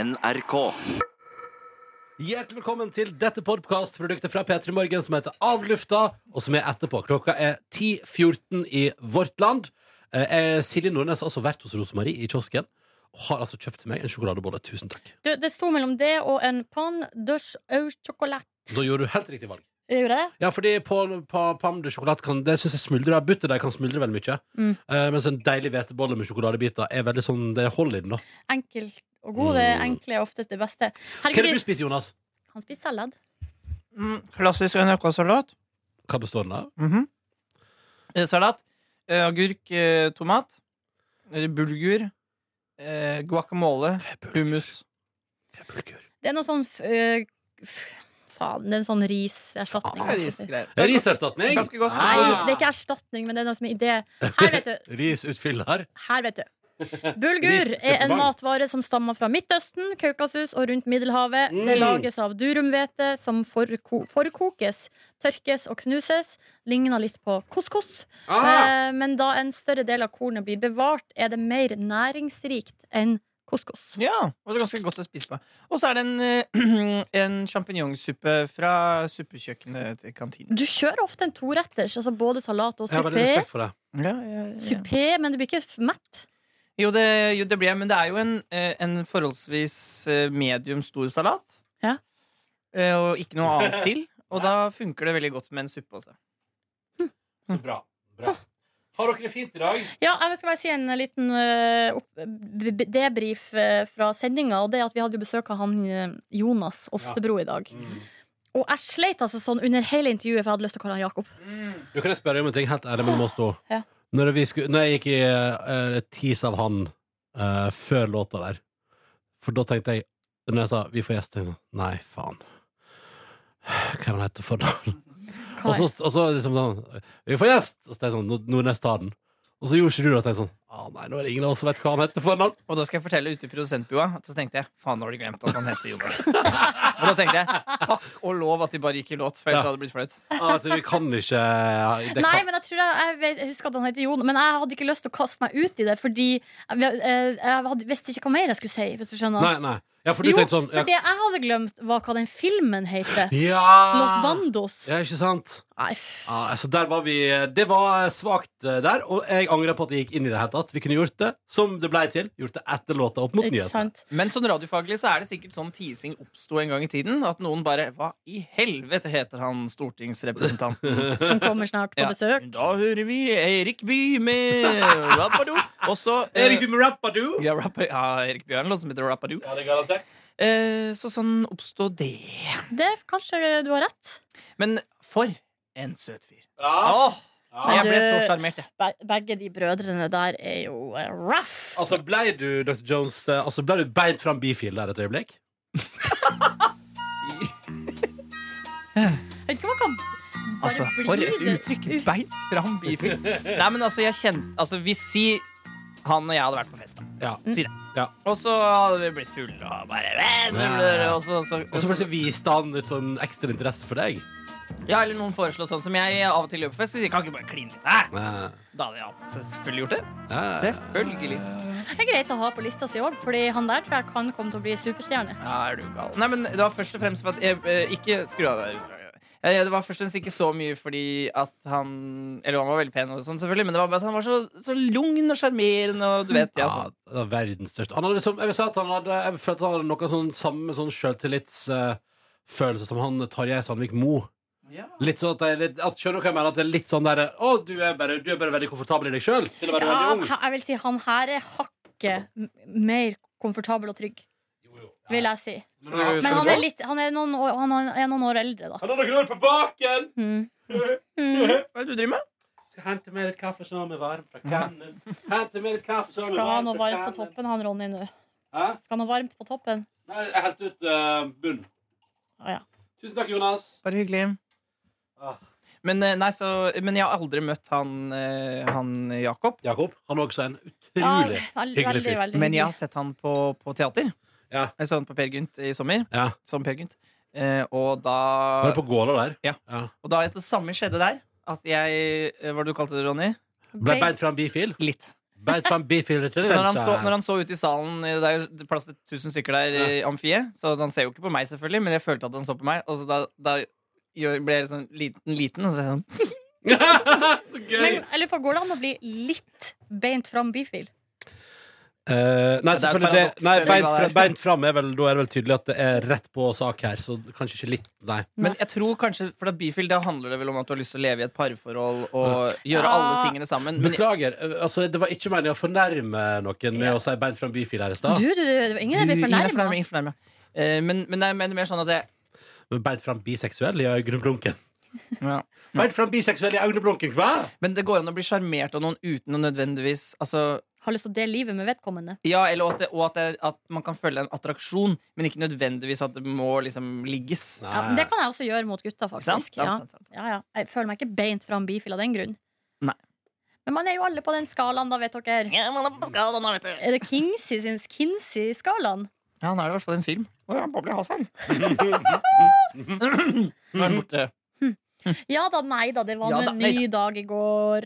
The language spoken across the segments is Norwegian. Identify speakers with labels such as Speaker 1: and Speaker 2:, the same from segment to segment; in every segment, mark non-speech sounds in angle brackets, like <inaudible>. Speaker 1: NRK.
Speaker 2: Hjertelig velkommen til dette podkastproduktet fra P3 Morgen som heter Avlufta, og som er etterpå. Klokka er 10.14 i vårt land. Eh, eh, Silje Nordnes har altså vært hos Rosemarie i kiosken og har altså kjøpt til meg en sjokoladebolle. Tusen takk.
Speaker 3: Du, det sto mellom det og en pan dush au chocolat.
Speaker 2: Da gjorde du helt riktig valg.
Speaker 3: Gjorde jeg det?
Speaker 2: Ja, fordi på, på Pam de sjokolade kan Det syns jeg smuldrer. av. Butter der kan smuldre veldig mye.
Speaker 3: Mm.
Speaker 2: Eh, mens en deilig hvetebolle med sjokoladebiter er veldig sånn Det holder i den, da.
Speaker 3: Enkelt og god. Det
Speaker 2: Mm.
Speaker 3: enkle er oftest det beste.
Speaker 2: Hva er det du
Speaker 3: Herregud,
Speaker 2: spiser, Jonas?
Speaker 3: han spiser salat.
Speaker 4: Mm, klassisk NRK-salat.
Speaker 2: Hva består den av?
Speaker 4: Mhm. eh, salat. Eh, agurk, eh, tomat. eh, Bulgur. Eh, guacamole. Hummus.
Speaker 2: Bulgur.
Speaker 3: Det er noe sånn f- øh, f- Faen, det er en sånn riserstatning.
Speaker 4: Ja, risgreier.
Speaker 2: Riserstatning!
Speaker 4: Ganske godt.
Speaker 3: Nei,
Speaker 2: Ah.
Speaker 3: det er ikke erstatning, men det er noe som er idé. Her, vet du.
Speaker 2: Risutfyller.
Speaker 3: Her,
Speaker 2: <laughs>
Speaker 3: vet du. Bulgur
Speaker 2: Ris,
Speaker 3: er en
Speaker 2: kjempebang.
Speaker 3: matvare som stammer fra Midtøsten, Kaukasus og rundt Middelhavet. Det
Speaker 2: Mm.
Speaker 3: lages av durumhvete som forko forkokes, tørkes og knuses. Ligner litt på couscous.
Speaker 2: Ah!
Speaker 3: Eh, Men da en større del av kornet blir bevart, er det mer næringsrikt enn couscous.
Speaker 4: Ja, og det er ganske godt å spise med. Og så er det en, eh, <clears throat> en sjampinjongsuppe fra suppekjøkkenet til kantinen.
Speaker 3: Du kjører ofte en toretters, altså både salat og
Speaker 2: Jeg har veldig
Speaker 3: suppé.
Speaker 2: respekt for det.
Speaker 4: Ja, ja, ja.
Speaker 3: Suppé, men du blir ikke f- mett.
Speaker 4: Jo, det, jo, det blir jeg, men det er jo en, eh, en forholdsvis eh, medium stor salat.
Speaker 3: Ja.
Speaker 4: Eh, Og ikke noe <laughs> annet til. Og da funker det veldig godt med en suppe også.
Speaker 2: Så bra. bra. Har dere det fint i dag?
Speaker 3: Ja, jeg skal bare si en liten eh, opp- b- b- debrief eh, fra sendinga. Og det at vi hadde jo besøk av han eh, Jonas Oftebro i dag.
Speaker 2: Mm.
Speaker 3: Og jeg sleit altså sånn under hele intervjuet, for jeg hadde lyst til å kalle han Jakob.
Speaker 2: Du kan jeg spørre om en ting helt ærlig mellom oss to.
Speaker 3: Ja.
Speaker 2: Når, vi sku, når jeg gikk i eh, tease av han eh, før låta der For da tenkte jeg Når jeg sa 'vi får gjest', tenkte jeg sånn, Nei, faen. Hva er han heter for navn? Og
Speaker 3: Hva
Speaker 2: så,
Speaker 3: er-
Speaker 2: og så liksom sånn 'Vi får gjest!' Og så tenkte jeg sånn «Nå- 'Nordnes tar den'. Og så gjorde ikke du det. Og tenkte jeg sånn 'Å nei, nå er det ingen av oss som vet hva han heter for
Speaker 3: <laughs>
Speaker 2: navn'.
Speaker 4: Og da skal jeg fortelle ute i produsentbua at så tenkte jeg, faen, nå har de glemt at han heter Jonas. og da tenkte jeg, takk og lov at de bare gikk i låt, for ellers
Speaker 2: Ja.
Speaker 4: hadde det blitt flaut.
Speaker 2: Ah, vet du, vi kan ikke det kan,
Speaker 3: Nei, men jeg, tror jeg, jeg, vet, jeg husker at han heter Jon, men jeg hadde ikke lyst til å kaste meg ut i det, fordi jeg, jeg, jeg hadde, visste ikke hva mer jeg skulle si. Hvis du skjønner
Speaker 2: nei, nei. Ja, for du
Speaker 3: jo,
Speaker 2: tenkte sånn ja,
Speaker 3: for det jeg hadde glemt, var hva den filmen heter. Los
Speaker 2: <laughs> ja.
Speaker 3: Bandos.
Speaker 2: ja, ikke sant?
Speaker 3: Nei,
Speaker 2: Ja, altså der var vi Det var svakt eh, der, og jeg angrer på at jeg gikk inn i det hele tatt. Vi kunne gjort det som det blei til. Gjort det etter låta opp mot
Speaker 3: ikke
Speaker 2: nyhetene.
Speaker 3: sant?
Speaker 4: Men sånn radiofaglig så er det sikkert sånn teasing oppsto en gang i tiden, at noen bare, hva i helvete heter han
Speaker 2: <laughs>
Speaker 4: stortingsrepresentanten?
Speaker 3: Som kommer snart på
Speaker 4: Ja.
Speaker 3: besøk.
Speaker 4: Da hører vi Erik By med Rappadoo. Og så eh,
Speaker 2: Erik Bimmer Rappadu!
Speaker 4: ja, Rappa- ja, Erik By har en låt som heter Rappadoo.
Speaker 2: Ja, det er garantert.
Speaker 4: Eh, så sånn oppstod det.
Speaker 3: Det Kanskje du har rett.
Speaker 4: Men for en søt fyr.
Speaker 2: Ja.
Speaker 4: Åh,
Speaker 2: Ja.
Speaker 4: jeg ble så
Speaker 3: Du-
Speaker 4: charmert, jeg.
Speaker 3: Be begge de brødrene der er jo eh, rough.
Speaker 2: Altså, blei du Dr. Jones eh, Altså, blei du beint fram bifil der et øyeblikk?
Speaker 3: Vet ikke hva man kan bare
Speaker 4: Altså,
Speaker 3: bli
Speaker 4: for et
Speaker 3: det.
Speaker 4: uttrykk! Beint fram bifil.
Speaker 2: <laughs>
Speaker 4: Nei, men altså, jeg kjente Altså, hvis si han og jeg hadde vært på fest, da.
Speaker 3: Mm.
Speaker 2: Ja.
Speaker 4: Si det.
Speaker 2: Ja.
Speaker 4: Og så hadde vi blitt fulle og bare Og så, så,
Speaker 2: Og så plutselig viste han litt sånn ekstra interesse for deg.
Speaker 4: Ja, eller noen foreslår sånn som jeg av og til gjør på fest. Så sier jeg, kan ikke bare kline litt. Nei.
Speaker 2: Eh,
Speaker 4: Da hadde jeg så selvfølgelig gjort det.
Speaker 2: eh,
Speaker 4: Selvfølgelig.
Speaker 3: Det er greit å ha på lista si òg, Fordi han der tror jeg kan komme til å bli superstjerne.
Speaker 4: Ja, er du gal. Nei, men det var først og fremst for at jeg, eh, Ikke skru av deg. Eh, Det var først og fremst ikke så mye fordi at han Eller han var veldig pen, og sånn selvfølgelig men det var bare at han var så, så lugn og sjarmerende. Og du vet det, altså.
Speaker 2: Ja, det var verdens største han hadde liksom, Jeg vil si at han hadde Jeg følte han hadde noe sånn samme sånn sjøltillitsfølelse som han Tarjei Sandvik Moe.
Speaker 4: Ja.
Speaker 2: Litt sånn at jeg, litt, at, skjønner du hva jeg mener? At det er litt sånn der Å, du er bare, du er bare veldig komfortabel i deg sjøl til å være
Speaker 3: Ja,
Speaker 2: veldig ung.
Speaker 3: he- jeg vil si han her er hakket m- mer komfortabel og trygg,
Speaker 2: Jo, jo.
Speaker 3: vil jeg si.
Speaker 2: Men han-
Speaker 3: Men han er, litt, han er, noen, år, han er noen år eldre, da.
Speaker 2: Han har noen år på baken!
Speaker 3: Mm. Mm.
Speaker 4: Hva er det du driver med?
Speaker 2: Skal hente med litt kaffe som er varm fra kannen. Hente med litt kaffe som er
Speaker 3: Skal ha
Speaker 2: varm
Speaker 3: noe
Speaker 2: fra
Speaker 3: varmt på
Speaker 2: kannen.
Speaker 3: toppen, han Ronny nå.
Speaker 2: Hæ?
Speaker 3: Skal ha noe varmt på toppen.
Speaker 2: Nei, jeg helte ut eh, bunn.
Speaker 3: Å, ja.
Speaker 2: Tusen takk, Jonas.
Speaker 4: Bare hyggelig.
Speaker 2: Ah.
Speaker 4: Men, eh, nei, så, men jeg har aldri møtt han, eh, han Jakob.
Speaker 2: Jakob, han er også en
Speaker 3: Ja,
Speaker 2: utrolig
Speaker 3: veld-
Speaker 2: hyggelig
Speaker 3: veldig,
Speaker 2: fyr.
Speaker 3: veldig
Speaker 4: Men jeg har
Speaker 3: hyggelig.
Speaker 4: sett han på, på teater.
Speaker 2: Ja.
Speaker 4: Jeg så han på Per Gynt i sommer.
Speaker 2: Ja.
Speaker 4: Som Per Gynt. Eh,
Speaker 2: Var
Speaker 4: og da
Speaker 2: det på gåla der?
Speaker 4: Ja. Og da det samme skjedde der. At jeg eh, Hva du kalte det, Ronny?
Speaker 2: Ble beint fram bifil?
Speaker 4: Litt.
Speaker 2: Beit van Bifileter.
Speaker 4: Når han, så, når han så ut i salen i- Det er jo plass til tusen stykker der i amfiet, så han ser jo ikke på meg, selvfølgelig, men jeg følte at han så på meg. Og så da, da gjør- ble jeg sånn liten, liten og så er jeg sånn
Speaker 2: Så
Speaker 3: Men jeg lurer på, går det an å bli litt beint fram bifil?
Speaker 2: Eh, nei,
Speaker 4: Det er et
Speaker 2: selvfølgelig det,
Speaker 4: paradoks,
Speaker 2: nei,
Speaker 4: eller
Speaker 2: beint,
Speaker 4: hva
Speaker 2: fra,
Speaker 4: det er.
Speaker 2: beint fram er vel Da er det vel tydelig at det er rett på sak her, så kanskje ikke litt Nei.
Speaker 4: Men jeg tror kanskje, for da bifil, da handler det vel om at du har lyst til å leve i et parforhold og
Speaker 3: Ja.
Speaker 4: gjøre alle tingene sammen. Men
Speaker 2: Beklager. eh, Altså, det var ikke meningen å fornærme noen med å si beint fram bifil her i
Speaker 3: Du,
Speaker 2: stad.
Speaker 3: du, du, det var ingen
Speaker 4: Du,
Speaker 3: jeg blir
Speaker 4: ingen er
Speaker 3: fornærma.
Speaker 4: ingen er fornærmet. Eh, Men, men jeg mener mer sånn at jeg
Speaker 2: Men beint fram biseksuell i øyeblunken.
Speaker 4: ja.
Speaker 2: Beint fram biseksuell i øyeblunken, hva?
Speaker 4: Men det går an å bli sjarmert av noen uten å nødvendigvis altså,
Speaker 3: Har lyst til å dele livet med vedkommende.
Speaker 4: Ja, eller at, det, og at, det, at man kan føle en attraksjon, men ikke nødvendigvis at det må liksom ligges.
Speaker 3: Ja, men det kan jeg også gjøre mot gutta,
Speaker 4: Ikke sant?
Speaker 3: faktisk.
Speaker 4: Sant,
Speaker 3: Ja.
Speaker 4: sant, sant.
Speaker 3: Ja, ja. Jeg føler meg ikke beint fram bifil av den grunn.
Speaker 4: Nei.
Speaker 3: Men man er jo alle på den skalaen, da, vet dere.
Speaker 4: Ja, man er på skalaen, da, vet du.
Speaker 3: Er det Kinsey sin Kinsey-skalaen?
Speaker 4: Ja, nå er det i hvert fall en film. Å ja, Boble <laughs> Hassan. Nå er den borte.
Speaker 3: Ja da, nei da, det var
Speaker 4: Ja
Speaker 3: nå
Speaker 4: da,
Speaker 3: en
Speaker 4: nei
Speaker 3: ny dag i går.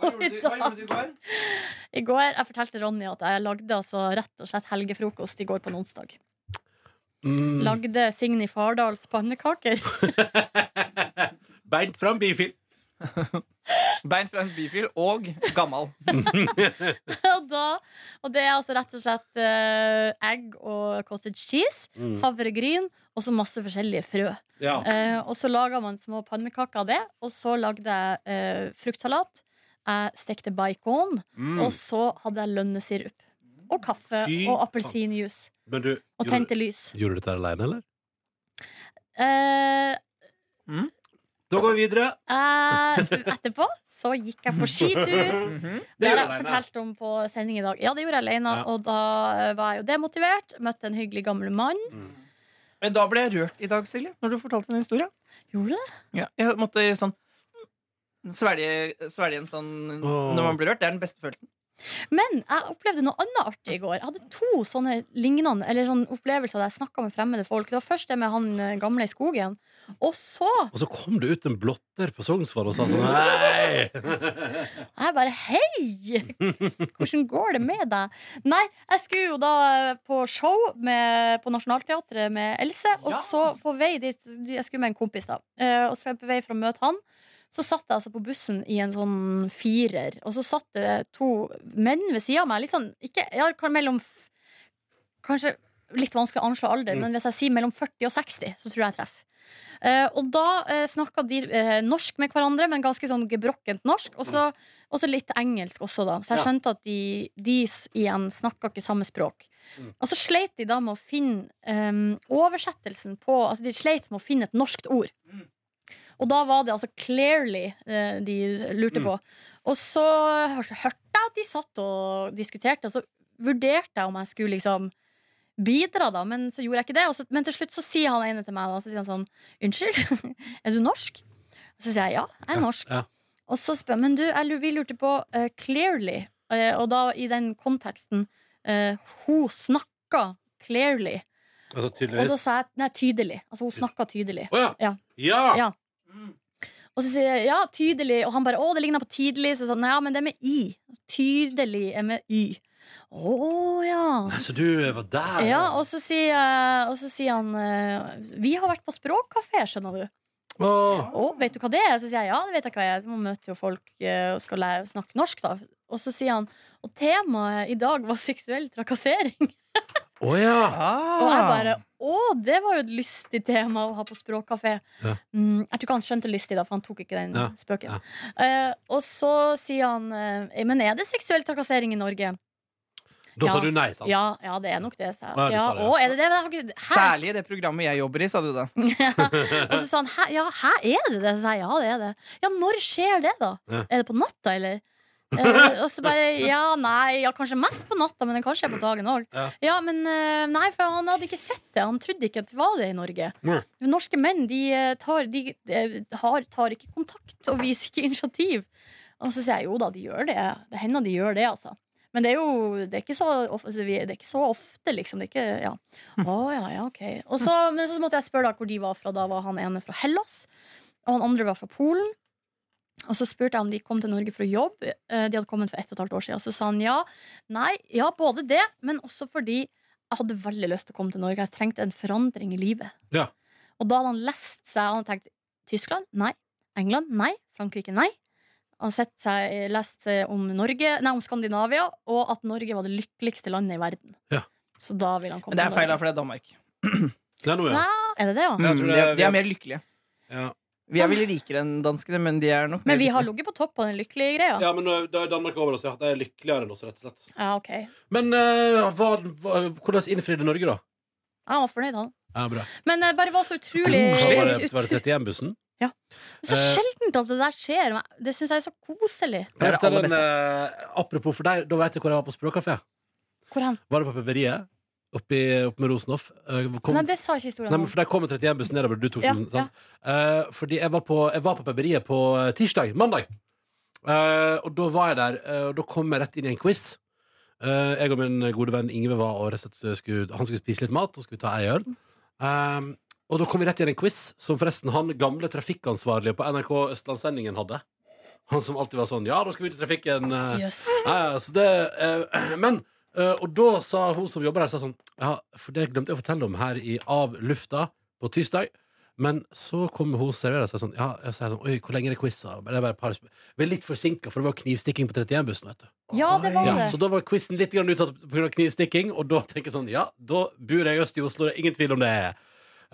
Speaker 3: hva gjorde
Speaker 4: du i går?
Speaker 3: I går, Jeg fortalte Ronny at jeg lagde altså rett og slett helgefrokost i går på en onsdag.
Speaker 2: Mm.
Speaker 3: Lagde Signy Fardals pannekaker. <laughs>
Speaker 2: Beint fram bifil.
Speaker 4: Bein fra en bifil og gammal.
Speaker 3: og, da, og det er altså rett og slett eh, egg og cottage cheese,
Speaker 2: Mm.
Speaker 3: havregryn og så masse forskjellige frø.
Speaker 2: Ja.
Speaker 3: Eh, og så laga man små pannekaker av det, og så lagde jeg eh, fruktsalat. Jeg stekte bacon,
Speaker 2: Mm.
Speaker 3: og så hadde jeg lønnesirup. Og kaffe
Speaker 2: Fy
Speaker 3: og appelsinjuice.
Speaker 2: Men du,
Speaker 3: Og
Speaker 2: gjorde,
Speaker 3: tente lys.
Speaker 2: gjorde du dette alene, eller?
Speaker 3: Eh,
Speaker 2: Da går vi videre.
Speaker 3: eh, etterpå så gikk
Speaker 2: <laughs>
Speaker 3: jeg på skitur.
Speaker 4: Mhm.
Speaker 3: Det har
Speaker 2: gjorde
Speaker 3: jeg
Speaker 2: jeg
Speaker 3: fortalt om på sending i dag. Ja, det gjorde jeg alene,
Speaker 2: Ja.
Speaker 3: og da eh, var jeg jo demotivert. Møtte en hyggelig gammel mann.
Speaker 4: Men da ble jeg rørt i dag, Silje, når du fortalte den historien.
Speaker 3: Gjorde det?
Speaker 4: Ja, jeg måtte sånn Svelge, svelge en sånn
Speaker 2: Åh.
Speaker 4: Når man blir rørt. Det er den beste følelsen.
Speaker 3: Men jeg opplevde noe annet artig i går. Jeg hadde to sånne lignende Eller sånne opplevelser der jeg snakka med fremmede folk. Det var først det med han eh, gamle i skogen. Og så
Speaker 2: Og så kom det ut en blotter på Sognsvann og sa sånn Hei!
Speaker 3: jeg bare Hei! Hvordan går det med deg? Nei, jeg skulle jo da eh, på show med, på Nationaltheatret med Else. Og
Speaker 4: Ja.
Speaker 3: så på vei dit Jeg skulle med en kompis, da. eh, Og så er jeg på vei for å møte han. Så satt jeg altså på bussen i en sånn firer, og så satt det to menn ved sida av meg. Litt sånn, ikke, ja, kan- mellom f- Kanskje litt vanskelig å anslå alder,
Speaker 2: Mm.
Speaker 3: men hvis jeg sier mellom 40 og 60, så tror jeg jeg treffer. Eh, og da uh, snakka de eh, norsk med hverandre, men ganske sånn gebrokkent norsk. Og så og så litt engelsk også, da. Så jeg
Speaker 2: Ja.
Speaker 3: skjønte at de, de s- igjen snakka ikke samme språk.
Speaker 2: Mm.
Speaker 3: Og så sleit de da med å finne em, oversettelsen på Altså de sleit med å finne et norskt ord.
Speaker 2: Mm.
Speaker 3: Og da var det altså clearly eh, de lurte
Speaker 2: Mm.
Speaker 3: på. Og så hør- hørte jeg at de satt og diskuterte, og så vurderte jeg om jeg skulle liksom bidra, da, men så gjorde jeg ikke det. Og så, men til slutt så sier han ene til meg da, så sier han sånn Unnskyld, <laughs> er du norsk? Og så sier jeg ja, jeg er norsk.
Speaker 2: Ja.
Speaker 3: Og så spør jeg, men du, jeg, lu- vi lurte på eh, clearly, eh, og da i den konteksten, eh, hun snakka clearly,
Speaker 2: Altså
Speaker 3: og da
Speaker 2: tydeligvis.
Speaker 3: sa jeg, nei, tydelig, altså hun snakka tydelig.
Speaker 2: Å ja.
Speaker 3: Ja.
Speaker 2: Ja!
Speaker 3: Ja. Og så sier jeg, ja, tydelig, og han bare, å, det ligner på tidlig, så jeg sa, nei, ja, men det er med i, tydelig er med y. Å, ja.
Speaker 2: Nei, Så du var der?
Speaker 3: Ja, og så sier, jeg- og så sier han, eh, vi har vært på språkkafé, skjønner du.
Speaker 2: Åh.
Speaker 3: Å, vet du hva det er? Så sier jeg ja, det vet jeg hva jeg er. Så man møter jo folk eh, og skal lære, snakke norsk, da. Og så sier han og temaet i dag var seksuell trakassering.
Speaker 2: Å ja.
Speaker 4: Ah.
Speaker 3: Og jeg bare å, det var jo et lystig tema å ha på språkkafé.
Speaker 2: Ja.
Speaker 3: Mm, jeg tror ikke han skjønte lystig, da, for han tok ikke den
Speaker 2: Ja,
Speaker 3: spøken.
Speaker 2: ja.
Speaker 3: Eh, og så sier han eh, men er det seksuell trakassering i Norge?
Speaker 2: Da sa
Speaker 3: Ja.
Speaker 2: du nei, sant?
Speaker 3: Ja, ja, det er nok det, sa
Speaker 2: Å, ja,
Speaker 3: jeg.
Speaker 2: du
Speaker 3: Ja,
Speaker 2: sa det, ja.
Speaker 3: å, er det det? Men jeg har ikke- Hæ?
Speaker 4: Særlig i det programmet jeg jobber i, sa du da.
Speaker 3: Og så sa han hæ, ja, hæ, er det det? Så sa jeg ja, det er det. Ja, når skjer det, da?
Speaker 2: Ja.
Speaker 3: Er det på natta, eller? Eh, og så bare ja, nei, ja, kanskje mest på natta, men det kanskje er på dagen òg. Ja.
Speaker 2: Ja.
Speaker 3: men eh, nei, for han hadde ikke sett det. Han trodde ikke at det var det i Norge.
Speaker 2: Nei.
Speaker 3: Norske menn de eh, tar, de, eh, har, tar ikke kontakt og viser ikke initiativ. Og så sier jeg jo da, de gjør det. Det hender de gjør det, altså. Men det er jo det er ikke så ofte, det er ikke så ofte liksom. Det er ikke, ja. <laughs> Å ja, ja, ok. Og så, men så måtte jeg spørre da hvor de var fra. Da var han ene fra Hellas, og han andre var fra Polen. Og så spurte jeg om de kom til Norge for å jobbe. Eh, De hadde kommet for ett og et halvt år siden. Og så sa han ja. Nei, ja, både det, men også fordi jeg hadde veldig lyst til å komme til Norge. Jeg trengte en forandring i livet.
Speaker 2: Ja.
Speaker 3: Og da hadde han lest seg Han hadde tenkt Tyskland? Nei. England? Nei. Frankrike? Nei. Han hadde sett seg, lest seg om, Norge, nei, om Skandinavia, og at Norge var det lykkeligste landet i verden.
Speaker 2: Ja.
Speaker 3: Så da ville han komme
Speaker 4: Men det er feil, da,
Speaker 3: til Norge.
Speaker 4: for det er Danmark.
Speaker 2: Det er noe, ja.
Speaker 3: Nei. Er det det, ja?
Speaker 2: Jeg
Speaker 4: Mm,
Speaker 2: tror
Speaker 4: de,
Speaker 2: det er-
Speaker 4: er, de er mer lykkelige.
Speaker 2: ja.
Speaker 4: Vi er vel rikere enn danskene, men de er nok mer
Speaker 3: Men vi har
Speaker 4: lykkelige.
Speaker 3: ligget på topp på den lykkelige greia. Ja,
Speaker 2: Ja, men nå er- da er Danmark over oss, ja. De er lykkeligere enn oss, rett og slett.
Speaker 3: ok. Ja,
Speaker 2: Men eh, hva, hva, hvordan innfridde Norge, da?
Speaker 3: Han var fornøyd, han.
Speaker 2: Ja, bra.
Speaker 3: Men det bare var så utrolig
Speaker 2: Koselig. Var det, var det
Speaker 3: ut-
Speaker 2: 31-bussen?
Speaker 3: Så
Speaker 2: Eh.
Speaker 3: sjeldent at det der skjer. men Det syns jeg er så koselig.
Speaker 4: Det er det aller beste.
Speaker 2: eh, apropos for deg, da vet jeg hvor jeg var på språkkafé.
Speaker 3: Hvor hen?
Speaker 2: Var det på Peperiet? Oppe opp med Rosenhoff? Eh, kom-
Speaker 3: Nei, det sa ikke historien.
Speaker 2: Nei, men
Speaker 3: om.
Speaker 2: for Der kom 31-bussen nedover. Du tok
Speaker 3: Ja,
Speaker 2: den. Sant? Eh, fordi jeg var, på, jeg var på Peperiet på eh, tirsdag. Mandag. Eh, og da var jeg der, eh, og da kom jeg rett inn i en quiz. Eh, jeg og min gode venn Ingve var og rett og slett skulle, han skulle spise litt mat, og skulle ta ei ørn. Eh, og da kom vi rett inn i en quiz som forresten han gamle trafikkansvarlige på NRK Østlandssendingen hadde. Han som alltid var sånn Ja, da skal vi ut i trafikken. eh,
Speaker 3: Jøss.
Speaker 2: ja, ja, så det, eh, <clears throat> men eh, Og da sa hun som jobber her sa sånn, Ja, for det glemte jeg å fortelle om her i Av lufta på tirsdag. Men så kommer hun og serverer seg sånn Ja, jeg sier sånn Oi, hvor lenge er det quiz? da?» Det er bare et par sp- Vi er litt forsinka, for det var knivstikking på 31-bussen, vet du.
Speaker 3: Ja, det var
Speaker 2: Ja,
Speaker 3: det.
Speaker 2: så da var quizen litt grann utsatt pga. knivstikking, og da tenker jeg sånn Ja, da bor jeg øst i Oslo, det er ingen tvil om det.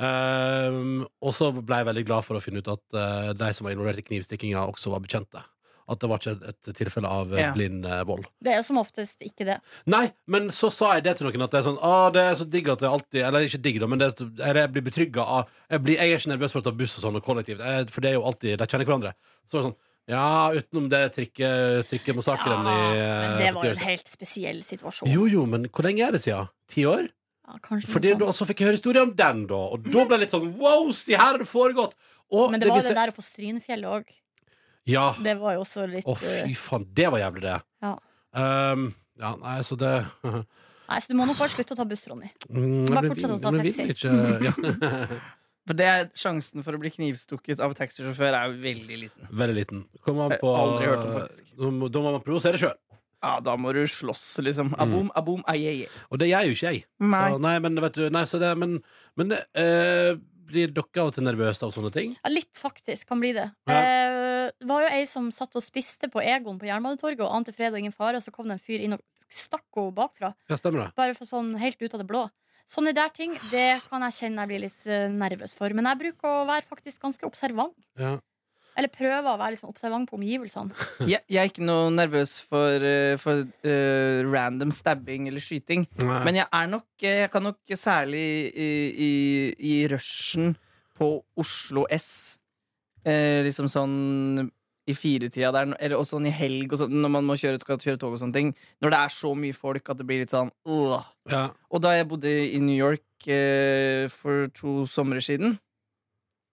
Speaker 2: Ehm, og så ble jeg veldig glad for å finne ut at eh, de som var involvert i knivstikkinga, også var bekjente. At det var ikke et, et tilfelle av eh,
Speaker 4: Ja.
Speaker 2: blind eh, vold.
Speaker 3: Det er som oftest ikke det.
Speaker 2: Nei, men så sa jeg det til noen at det er sånn ah, det er så digg at det alltid Eller ikke digg, da, men det er, eller jeg blir betrygga av jeg, blir, jeg er ikke nervøs for å ta buss og sånn og kollektivt, eh, for det er jo alltid De kjenner hverandre. Så var det sånn Ja, utenom det trikke- trikkemassakren i eh,
Speaker 3: Ah, men det var jo en
Speaker 2: fortvilelse.»
Speaker 3: helt spesiell situasjon.
Speaker 2: Jo, jo, men hvor lenge er det siden? Ti år?
Speaker 3: Ja, kanskje
Speaker 2: Fordi,
Speaker 3: noe
Speaker 2: da-
Speaker 3: sånt.
Speaker 2: og så fikk jeg høre historien om den, da. Og da ble jeg litt sånn wow, si her har det foregått! Og
Speaker 3: Men det var jo
Speaker 2: viser-
Speaker 3: det der oppe på Strynfjellet òg.
Speaker 2: Ja.
Speaker 3: Det var jo også litt eh,
Speaker 2: Å, fy faen, det var jævlig, det.
Speaker 3: Ja.
Speaker 2: Um, ja, nei, så det <laughs>
Speaker 3: eh, Nei, så du må nok bare slutte å ta buss, Ronny.
Speaker 2: Mm,
Speaker 3: Bare
Speaker 2: jeg
Speaker 3: fortsett å ta
Speaker 2: men vil
Speaker 3: taxi.
Speaker 2: ikke-
Speaker 3: <laughs>
Speaker 2: ja.
Speaker 4: For det er Sjansen for å bli knivstukket av taxisjåfør er jo veldig liten.
Speaker 2: Veldig liten. Kommer man
Speaker 4: Jeg
Speaker 2: på
Speaker 4: har aldri hørt om, faktisk.
Speaker 2: Da må- Da må man provosere sjøl.
Speaker 4: Ja, Da må du slåss, liksom. Aboom, aboom, ayeje.
Speaker 2: Og det gjør jo ikke jeg. Så, nei, men vet du nei, så det, Men, men eh, blir dere av og til nervøse av sånne ting?
Speaker 3: Ja, litt faktisk kan bli det.
Speaker 2: Ja.
Speaker 3: Eh, det var jo ei som satt og spiste på Egon på Jernbanetorget og ante fred og ingen fare, og så kom det en fyr inn og stakk henne bakfra.
Speaker 2: Ja, stemmer det.
Speaker 3: Bare for sånn helt ut av det blå. Sånne der ting det kan jeg kjenne jeg blir litt eh, nervøs for. Men jeg bruker å være faktisk ganske observant.
Speaker 2: Ja.
Speaker 3: Eller prøve å være litt sånn observant på omgivelsene.
Speaker 4: Jeg, jeg er ikke noe nervøs for, eh, for eh, random stabbing eller skyting.
Speaker 2: Nei.
Speaker 4: Men jeg er nok eh, Jeg kan nok særlig i, i, i rushen på Oslo S eh, Liksom sånn i firetida der, eller også sånn i helg og sånn, når man må kjøre, skal kjøre tog og sånne ting. Når det er så mye folk at det blir litt sånn øh.
Speaker 2: ja.
Speaker 4: Og da jeg bodde i New York eh, for to somre siden,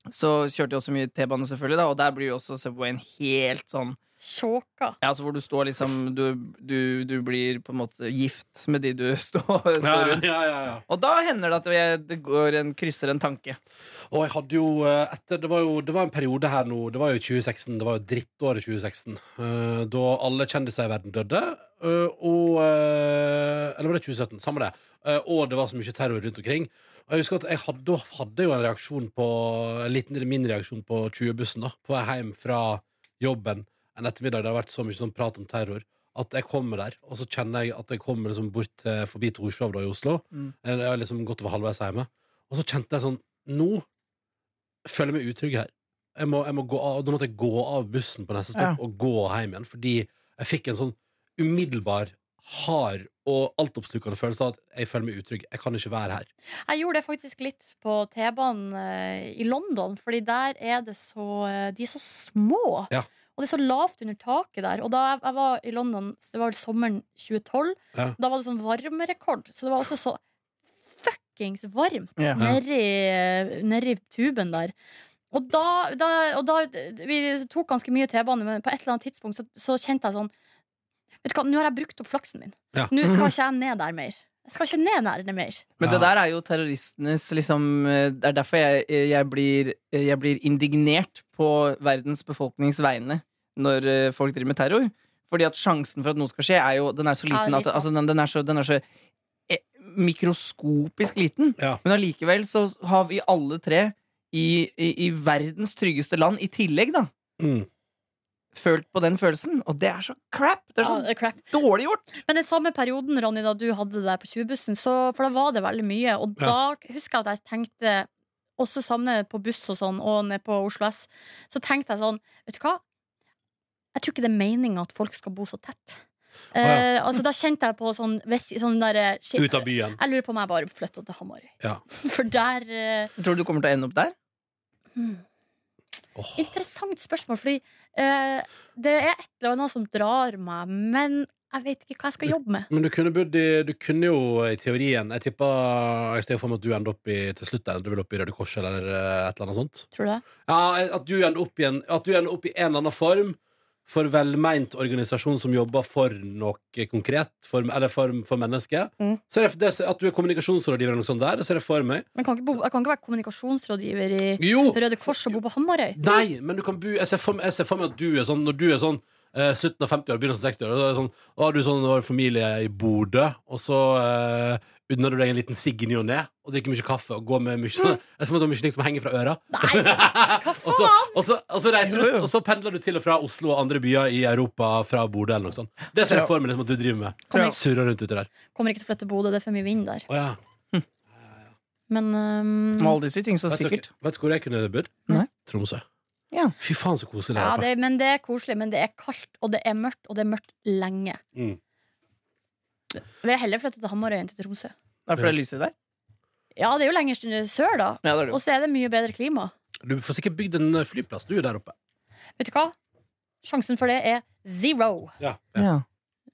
Speaker 4: så kjørte jeg også mye T-bane, selvfølgelig, da, og der blir jo også Subwayen helt sånn
Speaker 3: Sjåka.
Speaker 4: ja, altså Hvor du står liksom du, du, du blir på en måte gift med de du <laughs> står, står
Speaker 2: Ja,
Speaker 4: rundt.
Speaker 2: ja, ja, ja.
Speaker 4: Og da hender det at jeg, det går en, krysser en tanke.
Speaker 2: Og jeg hadde jo eh, etter, det, var jo det var en periode her nå Det var jo 2016, det var jo drittåret 2016 eh, Da alle kjendiser i verden døde eh, Og eh, Eller var det 2017? Samme det Eh, Og det var så mye terror rundt omkring Og jeg husker at jeg hadde, hadde jo en reaksjon på En liten min reaksjon på 20-bussen da På vei hjem fra jobben En ettermiddag, det har vært så mye sånn prat om terror at jeg kommer der, og så kjenner jeg at jeg kommer liksom bort til, forbi Torshov da i Oslo
Speaker 4: Mm.
Speaker 2: Jeg har liksom gått over halvveis hjemme Og så kjente jeg sånn, nå føler meg utrygg her. Jeg må, jeg må gå av, da måtte jeg gå av bussen på neste stopp
Speaker 4: Ja.
Speaker 2: og gå hjem igjen, fordi jeg fikk en sånn umiddelbar, hard og altoppslukende følelse av at jeg føler meg utrygg. Jeg kan ikke være her.
Speaker 3: Jeg gjorde det faktisk litt på T-banen eh, i London, fordi der er det så eh, De er så små.
Speaker 2: Ja.
Speaker 3: Og det er så lavt under taket der. Og da jeg- jeg var i London, så det var vel sommeren 2012,
Speaker 2: Ja.
Speaker 3: da var det sånn varmerekord. Så det var også så fuckings varmt
Speaker 4: Ja.
Speaker 3: nedi, eh, nedi tuben der. Og da, da, og da Vi tok ganske mye T-bane, men på et eller annet tidspunkt så, så kjente jeg sånn Vet du hva, nå har jeg brukt opp flaksen min.
Speaker 2: Ja.
Speaker 3: Nå
Speaker 4: <laughs>
Speaker 3: skal ikke jeg ned der mer. Jeg skal ikke ned der mer.
Speaker 4: Men
Speaker 2: Ja.
Speaker 4: det der er jo terroristenes liksom eh, Det er derfor jeg, jeg, blir, jeg blir indignert på verdens befolknings vegne når eh, folk driver med terror. Fordi at sjansen for at noe skal skje, er jo, den er så
Speaker 3: Ja,
Speaker 4: liten
Speaker 3: den er
Speaker 4: at altså, den, den er så, den er så eh, mikroskopisk liten.
Speaker 2: Ja.
Speaker 4: Men allikevel så har vi alle tre i, i, i verdens tryggeste land i tillegg, da.
Speaker 2: Mm.
Speaker 4: Følt på den følelsen, og det er så crap! Det er
Speaker 3: Ja,
Speaker 4: sånn- så
Speaker 3: det er Ah, crap.
Speaker 4: dårlig gjort!
Speaker 3: Men den samme perioden, Ronny, da du hadde det der på 20-bussen, så- for da var det veldig mye. Og da husker jeg at jeg tenkte, også sammen på buss og sånn, og ned på Oslo S, så tenkte jeg sånn, vet du hva? Jeg tror ikke det er meningen at folk skal bo så tett. Eh, altså, da kjente jeg på sånn, virk- sånn der, eh, shit,
Speaker 2: Ut av byen.
Speaker 3: Jeg lurer på om jeg bare flytta til Hamarøy.
Speaker 2: Ja.
Speaker 3: <laughs> For der eh,
Speaker 4: Tror du du kommer til å ende opp der?
Speaker 2: Åh.
Speaker 3: Interessant spørsmål, fordi eh, det er et eller annet som drar meg, men jeg vet ikke hva jeg skal jobbe med.
Speaker 2: Men du kunne, bodd i, du kunne jo i teorien Jeg tippa jeg ser for meg at du ender opp i til slutt ender du vel opp i Røde Kors eller eh, et eller annet sånt.
Speaker 3: Tror du det?
Speaker 2: Ja, At du ender opp i en, at du ender opp i en eller annen form for velmeint organisasjon som jobber for noe konkret, for, eller for, for mennesket.
Speaker 3: Mm.
Speaker 2: Så er det, det, at du er kommunikasjonsrådgiver eller noe sånt der, det ser jeg for meg.
Speaker 3: Men kan ikke bo, jeg kan ikke være kommunikasjonsrådgiver i
Speaker 2: Jo!
Speaker 3: Røde Kors og bo på Hamarøy.
Speaker 2: Nei, men du kan bo Jeg ser for, meg- jeg ser for meg at du er sånn Når du er sånn eh, slutten av 50 år, begynnelsen av 60 år Da er det sånn, da har du sånn, har familie i Bodø Og så eh, unner du deg en liten sigg i ny og ned Og drikker mye kaffe og går med mye
Speaker 4: Mm.
Speaker 2: sånn, Jeg ser for meg at du har mye ting som henger fra
Speaker 4: <laughs>
Speaker 2: øra
Speaker 3: Nei, hva
Speaker 2: og så,
Speaker 3: faen?
Speaker 2: og, så, og så reiser du
Speaker 4: Jo,
Speaker 2: ut
Speaker 4: jo.
Speaker 2: Og så pendler du til og fra Oslo og andre byer i Europa Fra Bodø eller noe sånt Det ser jeg for meg liksom, at du driver med
Speaker 3: Kommer ikke,
Speaker 2: Surrer rundt ute der
Speaker 3: kommer ikke til å flytte til Bodø, det er for mye vind der.
Speaker 2: Å ja,
Speaker 3: Men
Speaker 4: Med
Speaker 3: um,
Speaker 4: alle disse ting, så
Speaker 2: vet,
Speaker 4: sikkert.
Speaker 2: dere, vet du hvor jeg kunne bodd?
Speaker 4: Nei.
Speaker 2: Tromsø
Speaker 4: Ja.
Speaker 2: Fy faen så koselig
Speaker 3: ja,
Speaker 2: her oppe.
Speaker 3: det, men det er koselig. Men det er kaldt, og det er mørkt, og det er mørkt lenge.
Speaker 2: Mm.
Speaker 3: Jeg vil heller flytte til Hamarøy enn til Tromsø.
Speaker 4: Det er fordi det er lyset der.
Speaker 3: Ja, det er jo lenger sør, da.
Speaker 4: Ja, det er det.
Speaker 3: Og så er det mye bedre klima.
Speaker 2: Du får sikkert bygd en eh, flyplass Du er der oppe
Speaker 3: Vet du hva? Sjansen for det er zero.
Speaker 2: Ja, ja.
Speaker 4: Ja.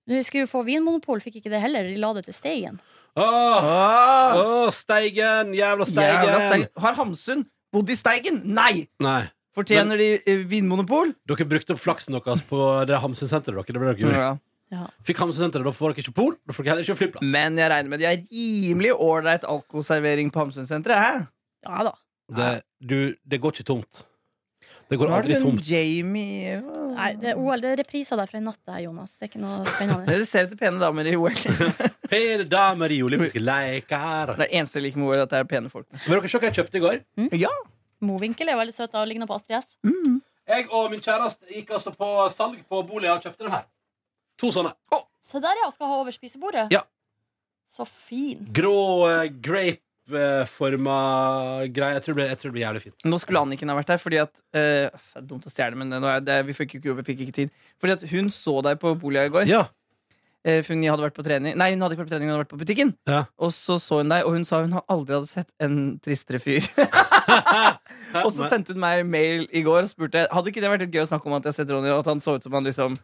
Speaker 3: Vi skulle jo få vinmonopol, fikk ikke det heller. De la det til Steigen.
Speaker 2: Åh,
Speaker 4: Ah!
Speaker 2: Åh, Steigen! Jævla Steigen!
Speaker 4: Jævla Steigen. Har Hamsun bodd i Steigen? Nei!
Speaker 2: Nei.
Speaker 4: Fortjener de eh, vinmonopol?
Speaker 2: Dere brukte opp flaksen deres på det Hamsun-senteret. dere. Det ble dere gjort. Fikk Hamsun-senteret, da får dere ikke pol, da får dere heller ikke flyplass.
Speaker 4: Men jeg regner med de har rimelig ålreit alkoservering på Hamsun-senteret. hæ?
Speaker 3: Ja da.
Speaker 2: det, du, det går ikke tomt. Det går
Speaker 4: Nå er
Speaker 2: aldri
Speaker 4: det en
Speaker 2: tomt.
Speaker 4: Jamie eh,
Speaker 3: Nei, det er OL, det er repriser der fra i natt, det her, Jonas. Det er ikke noe spennende.
Speaker 4: Dere ser etter pene damer i <laughs> OL. Det
Speaker 2: Pene damer i olympiske leker.
Speaker 4: er det eneste jeg liker med OL, at det er pene folk.
Speaker 2: Vil dere se hva jeg kjøpte i går?
Speaker 4: Ja.
Speaker 3: Mowinckel er veldig søt da, og ligner på Astrid S.
Speaker 2: Jeg og min kjæreste gikk altså på salg på boliger og kjøpte den her. To sånne.
Speaker 3: Se der, ja. Skal ha over spisebordet.
Speaker 2: Ja.
Speaker 3: Så fin.
Speaker 2: Grå eh, grape-forma greier. Jeg tror det blir- jeg tror det blir jævlig fint.
Speaker 4: Nå skulle Anniken ha vært her, fordi at eh, Det er dumt å stjele, men nå er det, vi, fikk ikke, vi fikk ikke tid. Fordi at hun så deg på Bolia i går.
Speaker 2: Ja.
Speaker 4: Eh, for hun hadde vært på trening Nei, hun hadde ikke vært på trening, hun hadde vært på butikken.
Speaker 2: Ja.
Speaker 4: Og så så hun deg, og hun sa hun har aldri hadde sett en tristere
Speaker 2: <laughs>
Speaker 4: fyr. <laughs> <laughs> Og så sendte hun meg mail i går og spurte Hadde ikke det vært litt gøy å snakke om at jeg har sett Ronny og at han så ut som han liksom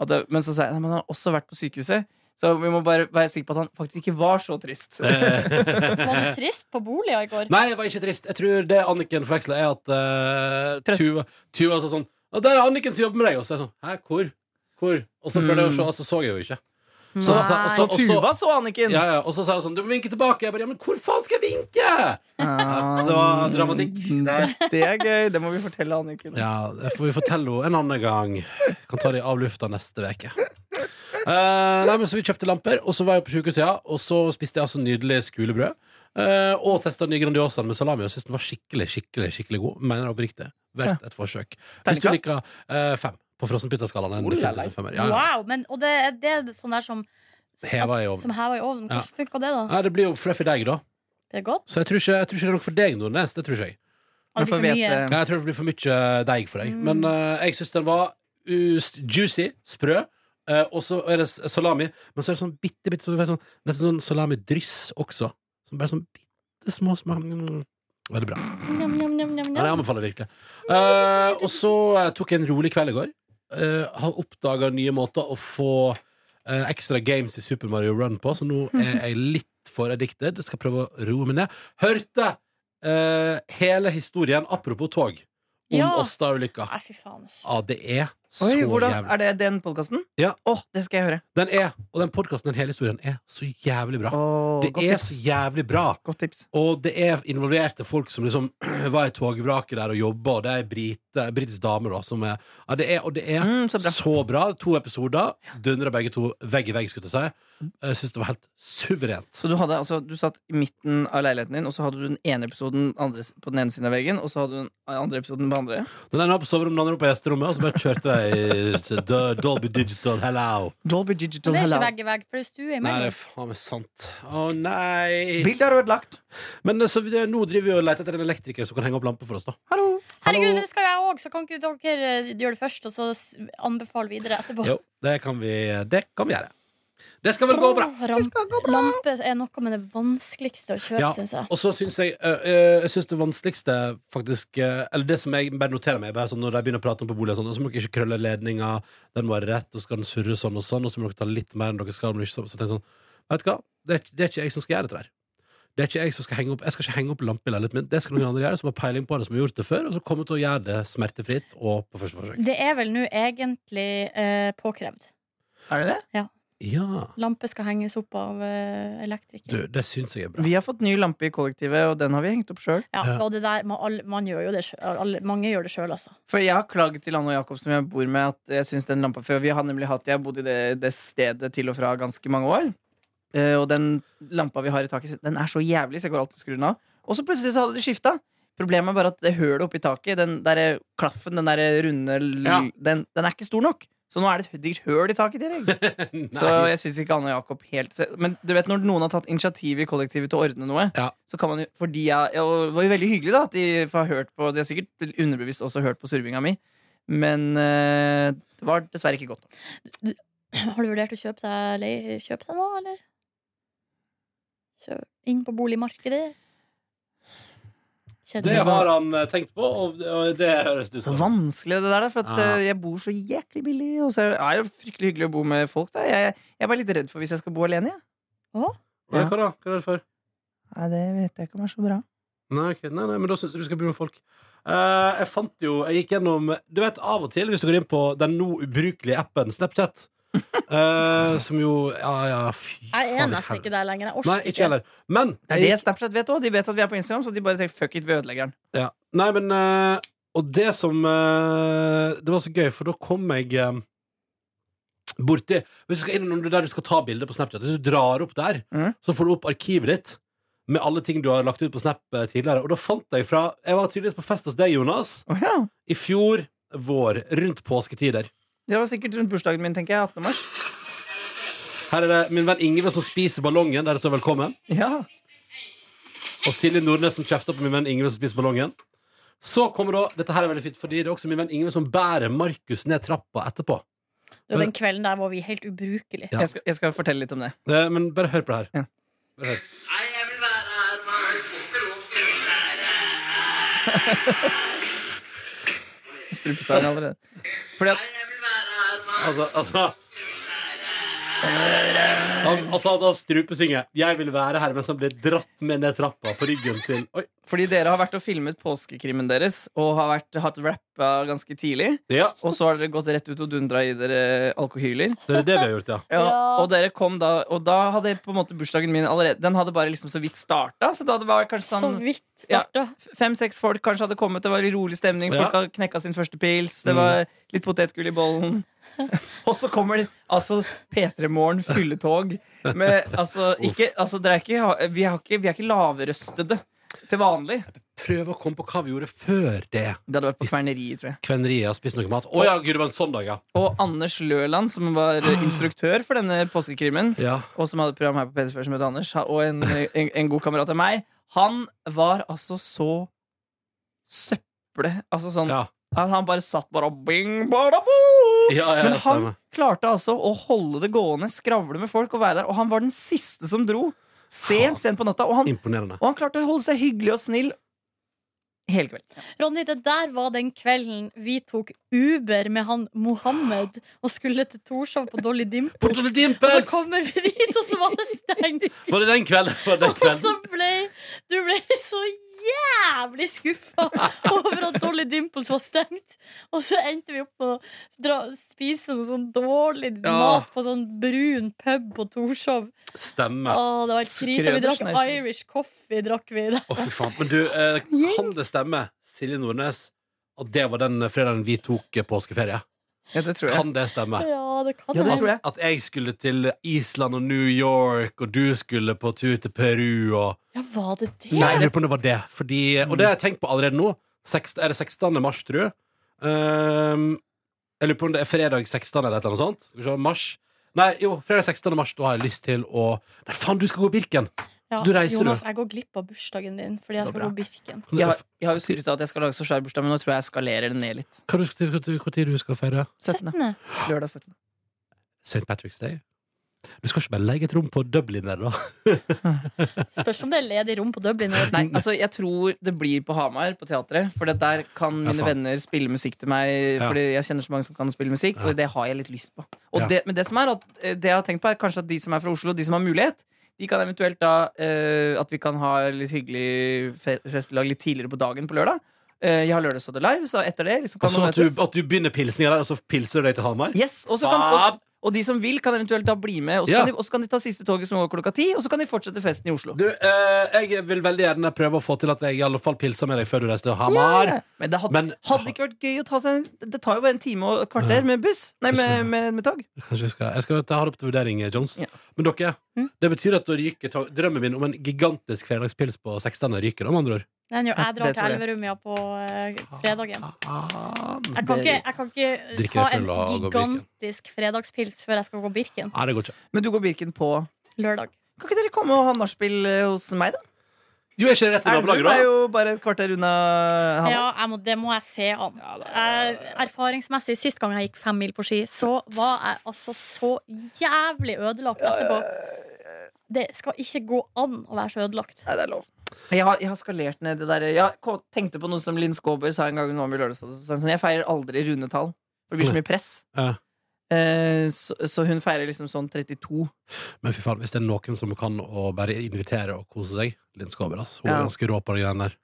Speaker 4: at det, Men så sa jeg nei, men han har også vært på sykehuset, så vi må bare være sikre på at han faktisk ikke var så trist.
Speaker 2: Eh,
Speaker 4: <laughs>
Speaker 3: Var du trist på boliga i går?
Speaker 2: Nei, jeg var ikke trist. Jeg tror det Anniken forveksla, er at eh,
Speaker 4: Trøtt.
Speaker 2: Tuva, Tuva sa sånn «Ja, 'Der er Anniken som jobber med deg.' Og så er jeg sånn 'Hæ, hvor?' hvor? Og så prøvde jeg å se, og så så jeg jo ikke. Så,
Speaker 3: Nei.
Speaker 2: sa-
Speaker 4: Så
Speaker 2: og så-
Speaker 4: Tuva så Anniken!
Speaker 2: ja, ja, og så sa hun sånn 'Du må vinke tilbake.' Jeg bare 'Ja, men hvor faen skal jeg vinke?'
Speaker 4: Ah.
Speaker 2: Så det var dramatikk.
Speaker 4: Det er gøy. Det må vi fortelle Anniken.
Speaker 2: Ja, det får vi fortelle henne en annen gang. Kan ta det av lufta neste uke. Eh, nei, men så Vi kjøpte lamper, og så var jeg på sykehuset, ja, og så spiste jeg altså nydelig skulebrød. eh, og testa den nye Grandiosaen med salami, og syntes den var skikkelig skikkelig, skikkelig god. Mener jeg oppriktig. Verdt et forsøk. Hvis du
Speaker 4: Terningkast?
Speaker 2: liker eh, fem på frossenpizzaskalaen, en
Speaker 4: Oh, la, la.
Speaker 2: definitivt en femmer. Ja, ja.
Speaker 3: Wow, men, og det, er- det er sånn der som
Speaker 2: Heva i ovnen.
Speaker 3: Som heva i ovnen. Hvordan funka det, da?
Speaker 2: Nei, det blir jo fluffy deig, da.
Speaker 3: Det er godt?
Speaker 2: Så jeg tror, ikke, jeg tror ikke det er noe for deg, Nordnes. Det tror ikke jeg.
Speaker 4: Vi
Speaker 3: Aldri for
Speaker 4: får
Speaker 3: mye.
Speaker 4: vete.
Speaker 2: Ja, jeg tror det blir for mye deig for deg. Men eh, jeg syns den var ust- juicy, sprø. eh, og så er det s- salami, men så er det sånn bitte, bitte sånn, sånn, Nesten sånn salamidryss også. Som bare sånn bitte små smak mm. Veldig bra.
Speaker 3: Njam, njam, njam, njam,
Speaker 2: Ja, det
Speaker 3: njam.
Speaker 2: anbefaler jeg virkelig. Eh, og så eh, tok jeg en rolig kveld i går. Eh, har oppdaga nye måter å få eh, ekstra games i Super Mario Run på, så nå
Speaker 4: Mhm.
Speaker 2: er jeg litt for addicted. Skal prøve å roe meg ned. Hørte eh, hele historien, apropos tog, om
Speaker 3: Ja.
Speaker 2: Åsta-ulykka.
Speaker 3: Nei, fy faen. ass.
Speaker 2: Ja, det er Så
Speaker 4: Oi, hvordan,
Speaker 2: jævlig.
Speaker 4: er det den podkasten?
Speaker 2: Ja.
Speaker 4: Åh, det skal jeg høre.
Speaker 2: Den er, og den podkasten, den hele historien, er så jævlig bra.
Speaker 4: Åh,
Speaker 2: det
Speaker 4: godt,
Speaker 2: er
Speaker 4: tips.
Speaker 2: så jævlig bra.
Speaker 4: godt tips.
Speaker 2: Og det er involverte folk som liksom <clears throat> var i togvraket der og jobba, og det er brite, britiske damer da, som er ja, det er, Og det er
Speaker 4: Mm, så
Speaker 2: så, bra.
Speaker 4: bra.
Speaker 2: To episoder. Dundra begge to vegg i vegg, skulle jeg si. Jeg syns det var helt suverent.
Speaker 4: Så du, hadde, altså, du satt i midten av leiligheten din, og så hadde du den ene episoden andre, s- på den ene siden av veggen, og så hadde du den andre episoden på andre.
Speaker 2: Den ene var på soverommet, den andre var på gjesterommet, og så bare kjørte de i s- D- Dolby Digital Hello.
Speaker 4: Dolby
Speaker 3: Men
Speaker 4: Digital
Speaker 3: det er ikke
Speaker 4: Hello.
Speaker 3: vegg i vegg, for det er stue
Speaker 2: Nei, det er
Speaker 3: imellom.
Speaker 2: faen meg sant. Å nei.
Speaker 4: Bildet er ødelagt.
Speaker 2: Men eh, så vi, nå driver vi og leter etter en elektriker som kan henge opp lamper for oss, da.
Speaker 4: Hallo.
Speaker 3: Herregud, men det skal jo jeg òg, så kan ikke dere eh, gjøre det først, og så s- anbefale videre etterpå?
Speaker 2: Jo, det kan vi, eh, det kan vi gjøre. Det skal vel gå bra.
Speaker 3: Åh, ramp- Lampe er noe med det vanskeligste å kjøpe,
Speaker 2: Ja.
Speaker 3: syns jeg.
Speaker 2: Og så syns jeg øh, øh, Jeg synes det vanskeligste faktisk øh, Eller det som jeg bare noterer meg, bare sånn når de begynner å prate om på bolig og sånn, og så må dere ikke krølle ledninga, den må være rett, og så skal den surre sånn og sånn, og så må dere ta litt mer enn dere skal. Men ikke så, så tenker jeg sånn, vet du hva, det er, ikke- det er ikke jeg som skal gjøre dette der. Det er ikke Jeg som skal henge opp Jeg skal ikke henge opp lampe i leiligheten min. Det skal noen andre gjøre, som har peiling på det, som har gjort det før, og som kommer til å gjøre det smertefritt og på første forsøk.
Speaker 3: Det er vel nå egentlig eh, påkrevd.
Speaker 4: Er det det?
Speaker 2: Ja.
Speaker 3: Lampe skal henges opp av eh, elektriker.
Speaker 2: Du, det syns jeg er
Speaker 4: <laughs>
Speaker 2: bra.
Speaker 4: Vi har fått ny lampe i kollektivet, og den har vi hengt opp sjøl.
Speaker 3: Ja,
Speaker 2: Ja.
Speaker 3: og det der, man, alle- man gjør jo det sjøl. alle- Mange gjør det sjøl, altså. <clears throat>
Speaker 4: For jeg har klaget til Anne og Jakob, som jeg bor med, at jeg syns den lampa før Vi har nemlig hatt Jeg har bodd i det, det stedet til og fra ganske mange år. Eh, og den lampa vi har i taket, den er så jævlig, så jeg går alltid og skrur den av. Og så plutselig så hadde det skifta. Problemet er bare at det hølet oppi taket, den der klaffen, den der runde l-
Speaker 2: Ja.
Speaker 4: den, den er ikke stor nok. Så nå er det et digert høl i taket i tillegg. Så
Speaker 2: Nei.
Speaker 4: jeg syns ikke Anne og Jakob helt se- Men du vet når noen har tatt initiativ i kollektivet til å ordne noe,
Speaker 2: Ja.
Speaker 4: så kan man jo Fordi jeg ja, og Det var jo veldig hyggelig, da, at de har hørt på De har sikkert underbevisst også hørt på survinga mi, men eh, det var dessverre ikke godt nok.
Speaker 3: Har du vurdert å kjøpe deg, lei- kjøpe deg noe, eller? Kjø inn på boligmarkedet?
Speaker 2: Det
Speaker 3: Kjedelig.
Speaker 2: har han eh, tenkt på, og, og det høres ut
Speaker 4: Så
Speaker 2: som.
Speaker 4: vanskelig det der, da, for at
Speaker 2: Ja.
Speaker 4: eh, jeg bor så jæklig billig, og så er det jo fryktelig hyggelig å bo med folk, da. Jeg, jeg er bare litt redd for hvis jeg skal bo alene, jeg.
Speaker 2: Ja, hva da? Hva er det for?
Speaker 4: Nei, det vet jeg ikke om er så bra.
Speaker 2: Nei, ok. nei, nei, men da syns jeg du skal bo med folk. Eh, jeg fant jo Jeg gikk gjennom Du vet, av og til, hvis du går inn på den nå ubrukelige appen
Speaker 4: <laughs>
Speaker 2: Snapchat, eh, som jo Ja, ja, fy
Speaker 3: Jeg er
Speaker 2: faen i
Speaker 3: nesten
Speaker 2: helvete.
Speaker 3: ikke der lenger. Jeg
Speaker 2: Nei,
Speaker 3: orker
Speaker 2: ikke
Speaker 3: ikke.
Speaker 2: heller. Men
Speaker 4: Det er det Snapchat vet òg. De vet at vi er på Instagram, så de bare tenker fuck it, vi ødelegger den.
Speaker 2: Ja. Nei, men eh, Og det som eh, Det var så gøy, for da kom jeg eh, borti Hvis du skal inn innom det der du skal ta bilde på Snapchat, hvis du drar opp der,
Speaker 4: Mhm.
Speaker 2: så får du opp arkivet ditt med alle ting du har lagt ut på Snap eh, tidligere. Og da fant jeg fra Jeg var tydeligvis på fest hos deg, Jonas,
Speaker 4: Å ja.
Speaker 2: i fjor vår, rundt påsketider.
Speaker 4: Det var sikkert rundt bursdagen min, tenker jeg. 18. mars.
Speaker 2: Her er det min venn Ingve som spiser ballongen, der det står 'velkommen'.
Speaker 4: Ja.
Speaker 2: Og Silje Nordnes som kjefter på min venn Ingve som spiser ballongen. Så kommer da, Dette her er veldig fint, fordi det er også min venn Ingve som bærer Markus ned trappa etterpå.
Speaker 3: Du, Den kvelden der var vi helt ubrukelige.
Speaker 2: Ja.
Speaker 4: Jeg, skal, jeg skal fortelle litt om det.
Speaker 2: Eh, Men bare hør på det her.
Speaker 4: Ja.
Speaker 2: Bare hør.
Speaker 1: Nei, jeg vil være her, men jeg vil være her.
Speaker 4: Strupesangen allerede. Fordi at
Speaker 1: Nei, jeg vil være her, men
Speaker 2: Altså, altså han, altså at han strupesynger 'Jeg vil være her' mens han blir dratt med ned trappa på ryggen til Oi.
Speaker 4: Fordi dere har vært og filmet påskekrimmen deres og har vært, hatt rappa ganske tidlig.
Speaker 2: Ja,
Speaker 4: Og så har dere gått rett ut og dundra i dere alkohyler.
Speaker 2: det er det vi har gjort, ja.
Speaker 4: Ja,
Speaker 3: Ja.
Speaker 4: Og dere kom da Og da hadde på en måte bursdagen min allerede Den hadde bare liksom så vidt starta. Så da det var kanskje
Speaker 3: Så
Speaker 4: sånn
Speaker 3: vidt starta.
Speaker 4: fem-seks folk kanskje hadde kommet. Det var litt rolig stemning.
Speaker 2: Ja.
Speaker 4: Folk hadde knekka sin første pils. Det var litt potetgull i bollen. Mm. <laughs> Og så kommer det altså P3 Morgen fylletog med <laughs> altså, ikke, altså dere er ikke, vi, har ikke, vi er ikke lavrøstede til vanlig.
Speaker 2: Prøv å komme på hva vi gjorde før det.
Speaker 4: Det hadde vært på kverneriet, tror jeg.
Speaker 2: Kveneriet har spist noe mat. Å ja, gud, det var en sånn dag, ja.
Speaker 4: Og Anders Løland, som <gasps> var instruktør for denne påskekrimmen,
Speaker 2: ja.
Speaker 4: og som hadde et program her på P3 før som het Anders, og en, en, en god kamerat av meg, han var altså så søpple. Altså sånn
Speaker 2: Ja,
Speaker 4: At han bare satt bare og bing, bada, bo!
Speaker 2: ja, ja
Speaker 4: Men
Speaker 2: det
Speaker 4: han
Speaker 2: stemmer.
Speaker 4: klarte altså å holde det gående, skravle med folk og være der. Og han var den siste som dro. Sent, sent på natta. Og han,
Speaker 2: Imponerende.
Speaker 4: og han klarte å holde seg hyggelig og snill hele kvelden.
Speaker 3: Ronny, det der var den kvelden vi tok Uber med han Mohammed og skulle til Torshov på Dolly Dimple.
Speaker 2: Porto de
Speaker 3: Og så
Speaker 2: Dimples!
Speaker 3: kommer vi dit, og så var det stengt!
Speaker 2: Var det den kvelden? Var
Speaker 3: <laughs>
Speaker 2: det den
Speaker 3: Og
Speaker 2: kvelden?
Speaker 3: så ble du ble så jævlig skuffa over at Dolly Only Dimples var stengt. Og så endte vi opp på å dra, spise noe sånn dårlig
Speaker 2: Ja.
Speaker 3: mat på sånn brun pub på Torshov.
Speaker 2: Stemme. Å,
Speaker 3: Å, det var helt krise. Vi drakk
Speaker 4: Skreversen er ikke-
Speaker 3: Irish coffee. Drakk vi der.
Speaker 2: fy faen. Men du, eh, kan det stemme, Silje Nordnes, at det var den fredagen vi tok eh, påskeferie?
Speaker 4: Ja, det tror jeg.
Speaker 2: Kan det stemme?
Speaker 3: Ja, det kan
Speaker 4: Ja, det
Speaker 3: hende.
Speaker 4: tror jeg.
Speaker 2: At jeg skulle til Island og New York, og du skulle på tur til Peru og
Speaker 3: Ja, var det det?
Speaker 2: Nei, jeg lurer på om det var det. Fordi, og det har jeg tenkt på allerede nå. Seks- er det 16. mars, tror jeg? Ehm, jeg lurer på om det er fredag 16. eller et eller annet sånt. Skal vi se, mars. Nei, jo, fredag 16. mars, da har jeg lyst til å Nei, faen, du skal gå Birken!
Speaker 3: Ja,
Speaker 2: Så du reiser, du?
Speaker 3: Jonas, jeg går glipp av bursdagen din fordi jeg
Speaker 4: Det går
Speaker 3: skal gå Birken.
Speaker 4: Jeg har, jeg har jo skrytt av at jeg skal lage så svær bursdag, men nå tror jeg jeg skalerer det ned litt.
Speaker 2: Hva du skal, hva, hva tid du skal feire?
Speaker 4: 17.
Speaker 3: Nei.
Speaker 4: Lørdag 17.
Speaker 2: St. Patrick's Day? Du skal ikke bare legge et rom på Dublin der, da?
Speaker 3: Spørs om det er ledig rom på Dublin. eller-
Speaker 2: <laughs>
Speaker 4: Nei, altså jeg tror det blir på Hamar, på teatret. For det der kan
Speaker 2: Ja,
Speaker 4: mine
Speaker 2: faen.
Speaker 4: venner spille musikk til meg.
Speaker 2: Ja.
Speaker 4: Fordi jeg kjenner så mange som kan spille musikk,
Speaker 2: Ja.
Speaker 4: og det har jeg litt lyst på. Og
Speaker 2: Ja.
Speaker 4: det, men det som er at eh, Det jeg har tenkt på, er kanskje at de som er fra Oslo, de som har mulighet, de kan eventuelt da eh, At vi kan ha litt hyggelig fe- festlag litt tidligere på dagen på lørdag. Eh, jeg har Lørdagsrådet live, så etter det liksom, kan
Speaker 2: Altså,
Speaker 4: man
Speaker 2: at, du,
Speaker 4: møtes.
Speaker 2: at du begynner pilsninga der, og så pilser du deg til Hamar?
Speaker 4: Yes, og, så kan, og, og de som vil, kan eventuelt da bli med. Og så
Speaker 2: Ja.
Speaker 4: kan, de- og så kan de ta siste toget som går klokka ti, og så kan de fortsette festen i Oslo.
Speaker 2: Du, eh, jeg vil veldig gjerne prøve å få til at jeg i alle fall pilser med deg før du reiser til Hamar.
Speaker 4: Men det hadde,
Speaker 2: Men-
Speaker 4: hadde ikke vært gøy å ta seg en Det tar jo bare en time og et kvarter med buss. Nei, med, med, med tog.
Speaker 2: Kanskje jeg skal Jeg skal ta det opp til vurdering, eh, Jones.
Speaker 4: Ja.
Speaker 2: Men dere,
Speaker 3: Mm.
Speaker 2: det betyr at da ryker ta- drømmen min om en gigantisk fredagspils på 16. ryker, om andre ord.
Speaker 3: Nei, jo, jeg drar til
Speaker 4: Det tror jeg.
Speaker 3: Elverum ja, på eh, fredagen.
Speaker 2: Ah,
Speaker 3: Jeg kan
Speaker 4: det-
Speaker 3: ikke, jeg kan
Speaker 2: Drikke
Speaker 3: ikke ta
Speaker 2: deg
Speaker 3: en
Speaker 2: full og gå Birken.
Speaker 3: gigantisk fredagspils før jeg skal gå Birken
Speaker 2: Nei, det går ikke.
Speaker 4: Men du går Birken på
Speaker 3: lørdag.
Speaker 4: Kan ikke dere komme og ha nachspiel eh, hos meg, da?
Speaker 2: Du er ikke rett i nabolaget,
Speaker 4: Elverum er
Speaker 2: da?
Speaker 4: jo bare et kvarter unna Hamar.
Speaker 3: Ja, jeg må, det må jeg se an. Jeg, erfaringsmessig, sist gang jeg gikk fem mil på ski, så var jeg altså så jævlig ødelagt etterpå. Det skal ikke gå an å være så ødelagt.
Speaker 4: Nei, det er lov. Jeg har, jeg har skalert ned det der eh, Jeg ko- tenkte på noe som Linn Skåber sa en gang hun var med i Lørdagsrådet. så sa hun sånn, Jeg feirer aldri runde tall. For det blir så mye press.
Speaker 2: Ja.
Speaker 4: Eh, så, så hun feirer liksom sånn 32.
Speaker 2: Men fy faen, hvis det er noen som kan å bare invitere og kose seg Linn Skåber, ass. Hun er
Speaker 4: Ja.
Speaker 2: ganske rå på de greiene der.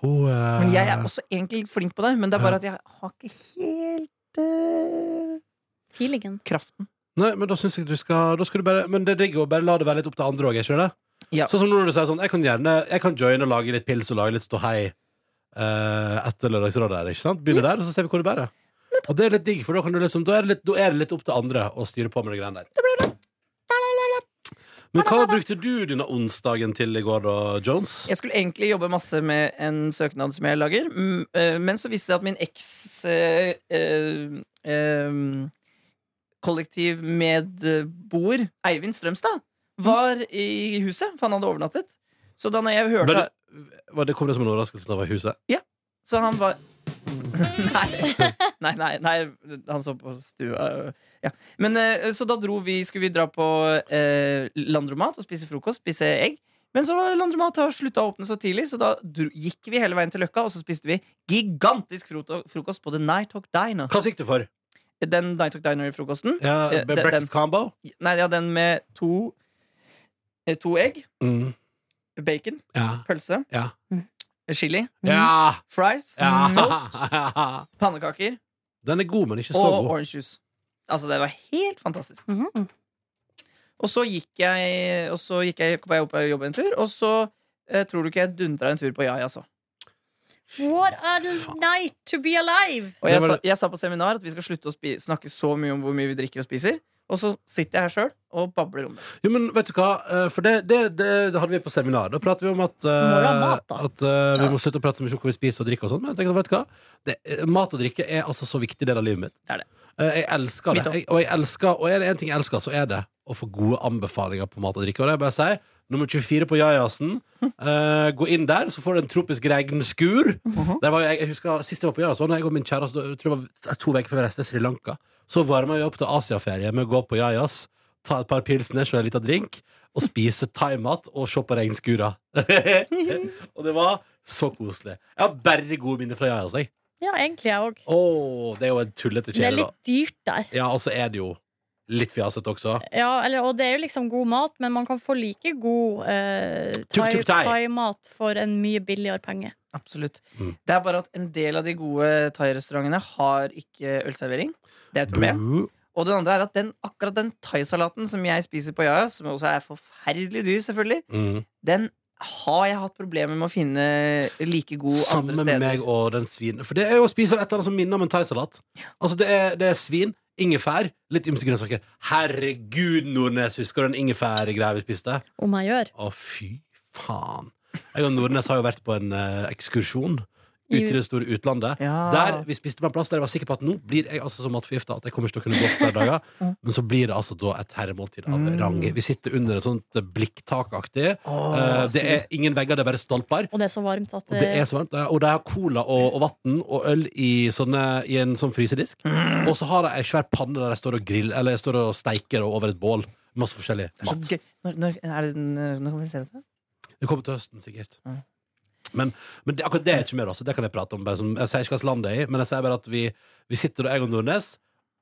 Speaker 2: Hun eh,
Speaker 4: Men jeg er også egentlig flink på det, men det er
Speaker 2: Ja.
Speaker 4: bare at jeg har ikke helt eh,
Speaker 3: Feelingen.
Speaker 4: kraften.
Speaker 2: Nei, men da syns jeg du skal, da skal du bare Men det er digg å bare la det være litt opp til andre òg, ikke det?
Speaker 4: Ja.
Speaker 2: Sånn som når du sier sånn Jeg kan gjerne Jeg kan joine og lage litt pils og lage litt ståhei eh, etter Lørdagsrådet her, ikke sant? Begynne der, og så ser vi hvor det bærer. Og det er litt digg, for da, kan du liksom, da, er det litt, da er det litt opp til andre å styre på med de greiene der. Men hva brukte du denne onsdagen til i går, da, Jones?
Speaker 4: Jeg skulle egentlig jobbe masse med en søknad som jeg lager, mm, eh, men så viste det seg at min eks eh, eh, eh, kollektivmedboer, Eivind Strømstad, var i huset, for han hadde overnattet. Så da når jeg hørte
Speaker 2: Ble det, var det kom det som en overraskelse da jeg var i huset?
Speaker 4: Så han var nei, nei, nei, nei, han så på stua ja. Men eh, så da dro vi Skulle vi dra på eh, landromat Og spise frokost, spise egg Men så var landromat har sluttet å åpne så tidlig Så da dro, gikk vi hele veien til Løkka Og så spiste vi gigantisk fro- frokost På The Night Hawk Diner
Speaker 2: Hva gikk du for?
Speaker 4: Den Night Hawk Diner-frokosten
Speaker 2: Ja,
Speaker 4: Eh, den- den-
Speaker 2: breakfast combo?
Speaker 4: Nei, ja, den med to eh, To egg,
Speaker 2: Mm.
Speaker 4: bacon,
Speaker 2: Ja.
Speaker 4: pølse
Speaker 2: Ja.
Speaker 4: Chili,
Speaker 2: Ja.
Speaker 4: fries, toast,
Speaker 2: ja.
Speaker 4: pannekaker
Speaker 2: Den er god, men ikke så
Speaker 4: Og
Speaker 2: god.
Speaker 4: orange juice. Altså, det var helt fantastisk.
Speaker 3: Mhm.
Speaker 4: Og så gikk jeg Og så gikk jeg, var jeg opp og jobbet en tur, og så eh, tror du ikke jeg dundra en tur på Yaya, altså.
Speaker 3: What a night to be alive!
Speaker 4: Og
Speaker 2: Det
Speaker 4: jeg,
Speaker 2: var
Speaker 4: sa,
Speaker 2: det-
Speaker 4: jeg sa på seminar at vi skal slutte å spi, snakke så mye om hvor mye vi drikker og spiser. Og så sitter jeg her sjøl og babler om det.
Speaker 2: Jo, men vet du hva, eh, for det, det, det, det hadde vi på seminar. Da prater vi om at, eh,
Speaker 3: Må jo ha mat, da.
Speaker 2: at eh, vi må slutte å prate så mye om hva vi spiser og drikker og sånn. Men jeg tenker, vet du hva, det, eh, mat og drikke er altså så viktig del av livet mitt.
Speaker 4: Det er det.
Speaker 2: Eh, Jeg elsker det.
Speaker 4: Mitt også.
Speaker 2: Jeg, og jeg elsker, og er det én ting jeg elsker, så er det å få gode anbefalinger på mat og drikke. Og det er bare å si nummer 24 på Jajasen. Eh, gå inn der, så får du en tropisk regnskur. Der var jo jeg, jeg husker Sist jeg var på Jajas, var da jeg og min kjæreste jeg tror det var to uker før vi reiste til Sri Lanka. Så varma vi opp til Asiaferie med å gå på Jajas, ta et par pilsners og en liten drink, og spise thaimat og se på regnskura. <laughs> og det var så koselig. Jeg har bare gode minner fra Jajas. jeg.
Speaker 3: Ja, egentlig jeg òg.
Speaker 2: Åh, det er jo en tullete
Speaker 3: Det er
Speaker 2: kjele, da.
Speaker 3: litt dyrt der.
Speaker 2: Ja, og så er det jo litt fjasete også.
Speaker 3: Ja, eller, og det er jo liksom god mat, men man kan få like god eh,
Speaker 2: Tuk-tuk-thai.
Speaker 3: thai- thai-mat for en mye billigere penge.
Speaker 4: Absolutt.
Speaker 2: Mm.
Speaker 4: Det er bare at en del av de gode thairestaurantene har ikke ølservering. Det er et problem.
Speaker 2: Boo.
Speaker 4: Og den andre er at den, akkurat den thaisalaten som jeg spiser på Yaya, som også er forferdelig dyr, selvfølgelig,
Speaker 2: Mm.
Speaker 4: den har jeg hatt problemer med å finne like god
Speaker 2: Samme med
Speaker 4: andre steder.
Speaker 2: meg og den svin. For det er jo å spise et eller annet som minner om en thaisalat. Altså, det er, det er svin, ingefær, litt ymse grønnsaker. Herregud, Nordnes, husker du den ingefærgreia vi spiste?
Speaker 3: Om jeg gjør.
Speaker 2: Å, fy faen. Jeg og Nordnes har jo vært på en eh, ekskursjon ute i det store utlandet.
Speaker 4: Ja.
Speaker 2: Der vi spiste på en plass der jeg var sikker på at nå blir jeg altså så matforgifta at jeg kommer ikke til å kunne gå opp hver
Speaker 4: <laughs>
Speaker 2: dag. Men så blir det altså da et herremåltid av
Speaker 4: Mm.
Speaker 2: rang. Vi sitter under et sånt eh, blikktakaktig. Eh, det er ingen vegger, det er bare stolper.
Speaker 3: Og det er så varmt at eh,
Speaker 2: Og det er så varmt. ja. Og de har cola og, og vann og øl i, sånne, i en sånn frysedisk.
Speaker 4: Mm.
Speaker 2: Og så har de ei svær panne der de står og griller, eller jeg står og steiker og over et bål. Masse forskjellig
Speaker 4: Det er så
Speaker 2: mat.
Speaker 4: gøy. Når, når, er det, når når kan vi se dette?
Speaker 2: Det kommer til høsten, sikkert.
Speaker 4: Mm.
Speaker 2: Men, men det, akkurat det er ikke mer, altså. Det kan jeg prate om. Bare som, jeg sier ikke hvilket land det er i, men jeg sier bare at vi, vi sitter, jeg og Nordnes,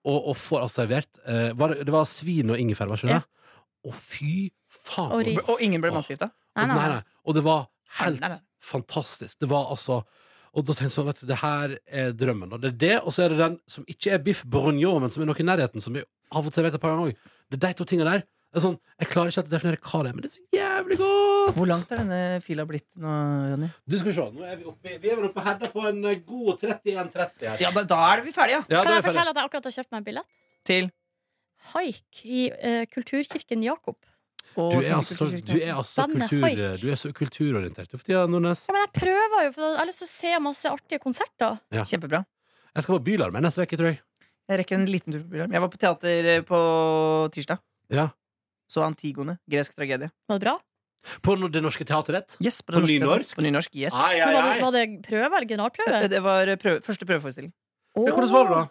Speaker 2: og, og får altså servert eh, var, det- Det var svin og ingefær, var ikke det? Å, fy faen!
Speaker 3: Og ris.
Speaker 4: Og ingen ble
Speaker 2: Åh.
Speaker 4: matforgifta?
Speaker 3: Nei, nei, nei.
Speaker 2: Og det var helt
Speaker 4: Nei, nei, nei.
Speaker 2: fantastisk. Det var altså Og da tenkte jeg sånn, vet du, det her er drømmen. Og det er det, og så er det den som ikke er biff bourgognon, men som er noe i nærheten, som jeg av og til vet et par ganger òg. Det er de to tingene der. Det er sånn, jeg klarer ikke helt å definere hva det er, men det er så jævlig godt!
Speaker 4: Hvor langt er denne fila blitt nå, Jonny?
Speaker 2: Du skal se, nå er vi oppe, vi er vel oppe og herder på en eh, god 31-30 her.
Speaker 4: Ja, da, da er vi ferdige, ja!
Speaker 3: Kan jeg fortelle at jeg akkurat har kjøpt meg en billett?
Speaker 4: Til
Speaker 3: Haik i eh, Kulturkirken Jakob.
Speaker 4: og
Speaker 2: Du er
Speaker 4: Folkekirken.
Speaker 2: altså, du er altså
Speaker 3: Bandet
Speaker 2: kultur,
Speaker 3: Haik.
Speaker 2: du er så kulturorientert du for tida, Nordnes.
Speaker 3: Ja, men jeg prøver jo, for jeg har lyst til å se masse artige konserter.
Speaker 4: Kjempebra.
Speaker 2: Jeg skal på Bylarmen neste uke, tror jeg.
Speaker 4: Jeg rekker en liten tur på Bylarm. Jeg var på teater eh, på tirsdag.
Speaker 2: Ja.
Speaker 4: Så Antigone. Gresk tragedie.
Speaker 3: Var det bra?
Speaker 2: På no- Det Norske Teatret.
Speaker 4: Yes, på,
Speaker 2: På
Speaker 4: det norske teatret.
Speaker 2: nynorsk?
Speaker 4: På nynorsk, yes Eh,
Speaker 2: Ai, ai,
Speaker 3: Men var,
Speaker 2: ai.
Speaker 3: det, var det prøve eller generalprøve?
Speaker 4: Det var prøve, første prøveforestilling.
Speaker 2: Ja, Hvordan var det, da?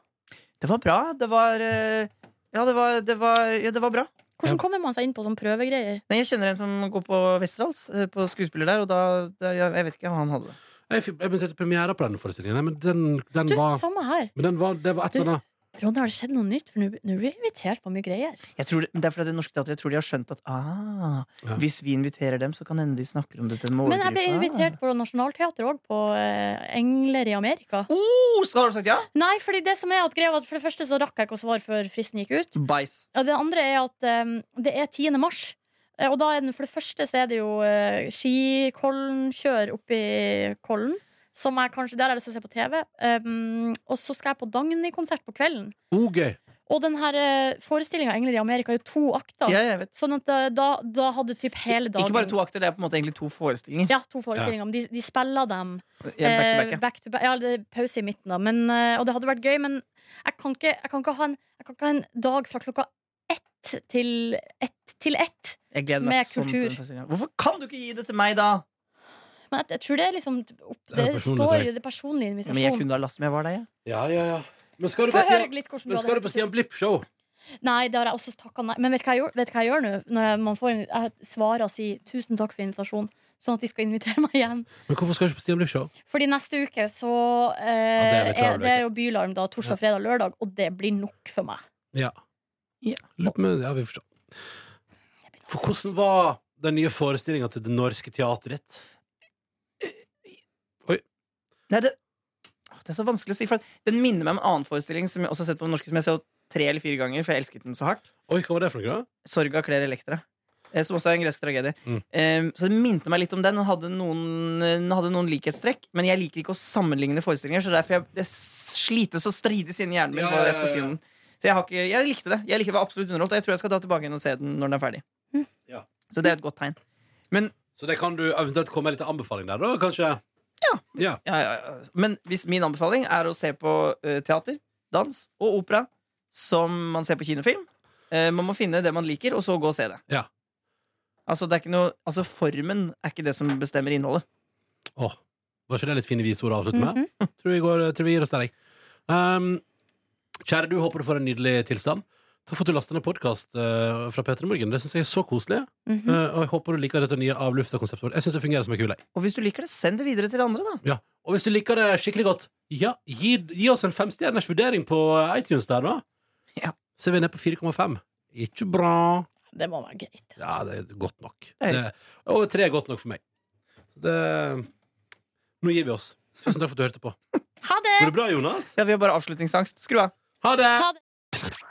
Speaker 4: Det var bra. Det var eh, Ja, det var, det var, ja, det var bra.
Speaker 3: Hvordan kommer man seg inn på sånne prøvegreier?
Speaker 4: Nei, jeg kjenner en som går på Westerdals, eh, på skuespiller der, og da, da jeg, jeg vet ikke hva han hadde det.
Speaker 2: Jeg fikk jeg begynte etter premiere på den forestillingen, Nei, men den, den
Speaker 3: Du,
Speaker 2: var
Speaker 3: samme her.
Speaker 2: men den var, det var et
Speaker 3: Du-
Speaker 2: eller annet
Speaker 3: Ronny, har det skjedd noe nytt? For nå nå blir vi invitert på mye greier.
Speaker 4: Jeg tror det, det er fordi Det Norske Teatret jeg tror de har skjønt at ah,
Speaker 2: Ja.
Speaker 4: hvis vi inviterer dem, så kan hende de snakker om det til en
Speaker 3: Men jeg
Speaker 4: Ah.
Speaker 3: ble invitert på Nationaltheatret òg, på eh, Engler i Amerika.
Speaker 4: Oh, skal du ha sagt ja?
Speaker 3: Nei, fordi det som er at greia var at for det første så rakk jeg ikke å svare før fristen gikk ut.
Speaker 4: Bæsj.
Speaker 3: Og det andre er at eh, det er 10. mars. Eh, Og da er den, for det første så er det jo uh, skikollenkjør oppi Kollen. Som jeg kanskje, der har jeg lyst til å se på TV. Um, og så skal jeg på Dagny-konsert på kvelden.
Speaker 2: oh, gøy.
Speaker 3: Og den her forestillinga Engler i Amerika er jo to akter.
Speaker 4: Ja, jeg vet.
Speaker 3: Sånn at eh, da, da hadde typ hele dagen
Speaker 4: Ikke bare to akter, det er på en måte egentlig to forestillinger.
Speaker 3: Ja, to forestillinger. Men de, de spiller dem
Speaker 4: Ja, back to back,
Speaker 3: eh,
Speaker 4: ja.
Speaker 3: back to back. Ja, det er pause i midten, da. Men, eh, og det hadde vært gøy, men jeg kan ikke, jeg kan ikke, ha, en, jeg kan ikke ha en dag fra klokka ett til ett. Til ett.
Speaker 4: Jeg gleder meg
Speaker 3: Med
Speaker 4: sånn til
Speaker 3: kultur.
Speaker 4: den forestillingen. Hvorfor kan du ikke gi det til meg, da?
Speaker 3: Men jeg, jeg tror det er liksom opp,
Speaker 2: Det er
Speaker 3: Det,
Speaker 2: personlig,
Speaker 3: står
Speaker 2: tror jeg.
Speaker 3: jo det personlige
Speaker 4: Men jeg
Speaker 3: invitasjonen.
Speaker 4: kunne ha latt som jeg var der, jeg.
Speaker 2: Ja, ja, ja. Men skal du
Speaker 3: Få
Speaker 2: på
Speaker 3: høre
Speaker 2: Stian,
Speaker 3: litt hvordan du
Speaker 2: men skal
Speaker 3: hadde
Speaker 2: du på Stian Blipp-show?
Speaker 3: Nei, det har jeg også takka nei. Men vet du hva jeg gjør, vet du hva jeg gjør nå? Når jeg, man får en, jeg svarer og sier 'tusen takk for invitasjonen', sånn at de skal invitere <laughs> meg igjen.
Speaker 2: Men hvorfor skal du ikke på Stian Blipp-show?
Speaker 3: Fordi neste uke så
Speaker 2: Ja,
Speaker 3: eh,
Speaker 2: det er litt
Speaker 3: er,
Speaker 2: travelt,
Speaker 3: det er jo bylarm da torsdag, fredag, lørdag, og det blir nok for meg.
Speaker 2: Ja.
Speaker 4: Ja.
Speaker 2: Lurer på om- ja, vi forstår. For hvordan var den nye forestillinga til Det Norske Teatret?
Speaker 4: Nei, det, Åh, det er så vanskelig å si. For at den minner meg om en annen forestilling som jeg også har sett på den norske, som jeg ser tre eller fire ganger, for jeg elsket den så hardt.
Speaker 2: Oi, hva var det for noe? da?
Speaker 4: Sorga kler Elektra. eh, Som også er en gresk tragedie.
Speaker 2: Mm.
Speaker 4: Eh, Så det minte meg litt om den. Den hadde, noen, den hadde noen likhetstrekk. Men jeg liker ikke å sammenligne forestillinger, så derfor jeg, det slites og strides inni hjernen min.
Speaker 2: Ja,
Speaker 4: hva
Speaker 2: ja,
Speaker 4: jeg skal
Speaker 2: ja,
Speaker 4: si
Speaker 2: ja.
Speaker 4: om den. Så jeg, har ikke, jeg likte det. Jeg likte det var absolutt underholdt. og Jeg tror jeg skal dra tilbake igjen og se den når den er ferdig.
Speaker 2: Ja.
Speaker 4: Så det er et godt tegn. Men,
Speaker 2: Så det kan du eventuelt komme med litt anbefaling der, da, kanskje? Ja.
Speaker 4: ja, ja, ja. men hvis min anbefaling er å se på eh, teater, dans og opera som man ser på kinofilm. Eh, man må finne det man liker, og så gå og se det.
Speaker 2: Ja.
Speaker 4: Altså, det er ikke noe, altså Formen er ikke det som bestemmer innholdet.
Speaker 2: Åh, var ikke det litt fine visord å avslutte med?
Speaker 3: Mhm.
Speaker 2: <laughs> Tror vi, går, tror vi gir oss der, jeg. Um, kjære du, håper du får en nydelig tilstand. Takk for at du lastet ned podkast fra Peter i Morgen. Det syns jeg er så koselig.
Speaker 3: Mhm.
Speaker 2: Eh, og jeg håper du liker dette nye avlufta-konseptet vårt. Jeg synes det fungerer som en kule.
Speaker 4: Og hvis du liker det, send det videre til andre, da.
Speaker 2: Ja. Og hvis du liker det skikkelig godt, ja, gi, gi oss en femstjerners vurdering på iTunes der, da.
Speaker 4: Ja.
Speaker 2: Så er vi nede på 4,5. Ikke bra.
Speaker 3: Det må være greit.
Speaker 2: Ja, det er godt nok.
Speaker 4: Nei.
Speaker 2: Det, over tre er godt nok for meg. Det Nå gir vi oss. Tusen takk for at du hørte på.
Speaker 3: Ha det!
Speaker 2: Går det bra, Jonas?
Speaker 4: Ja, vi har bare avslutningsangst. Skru av.
Speaker 2: Ha det!
Speaker 3: Ha det.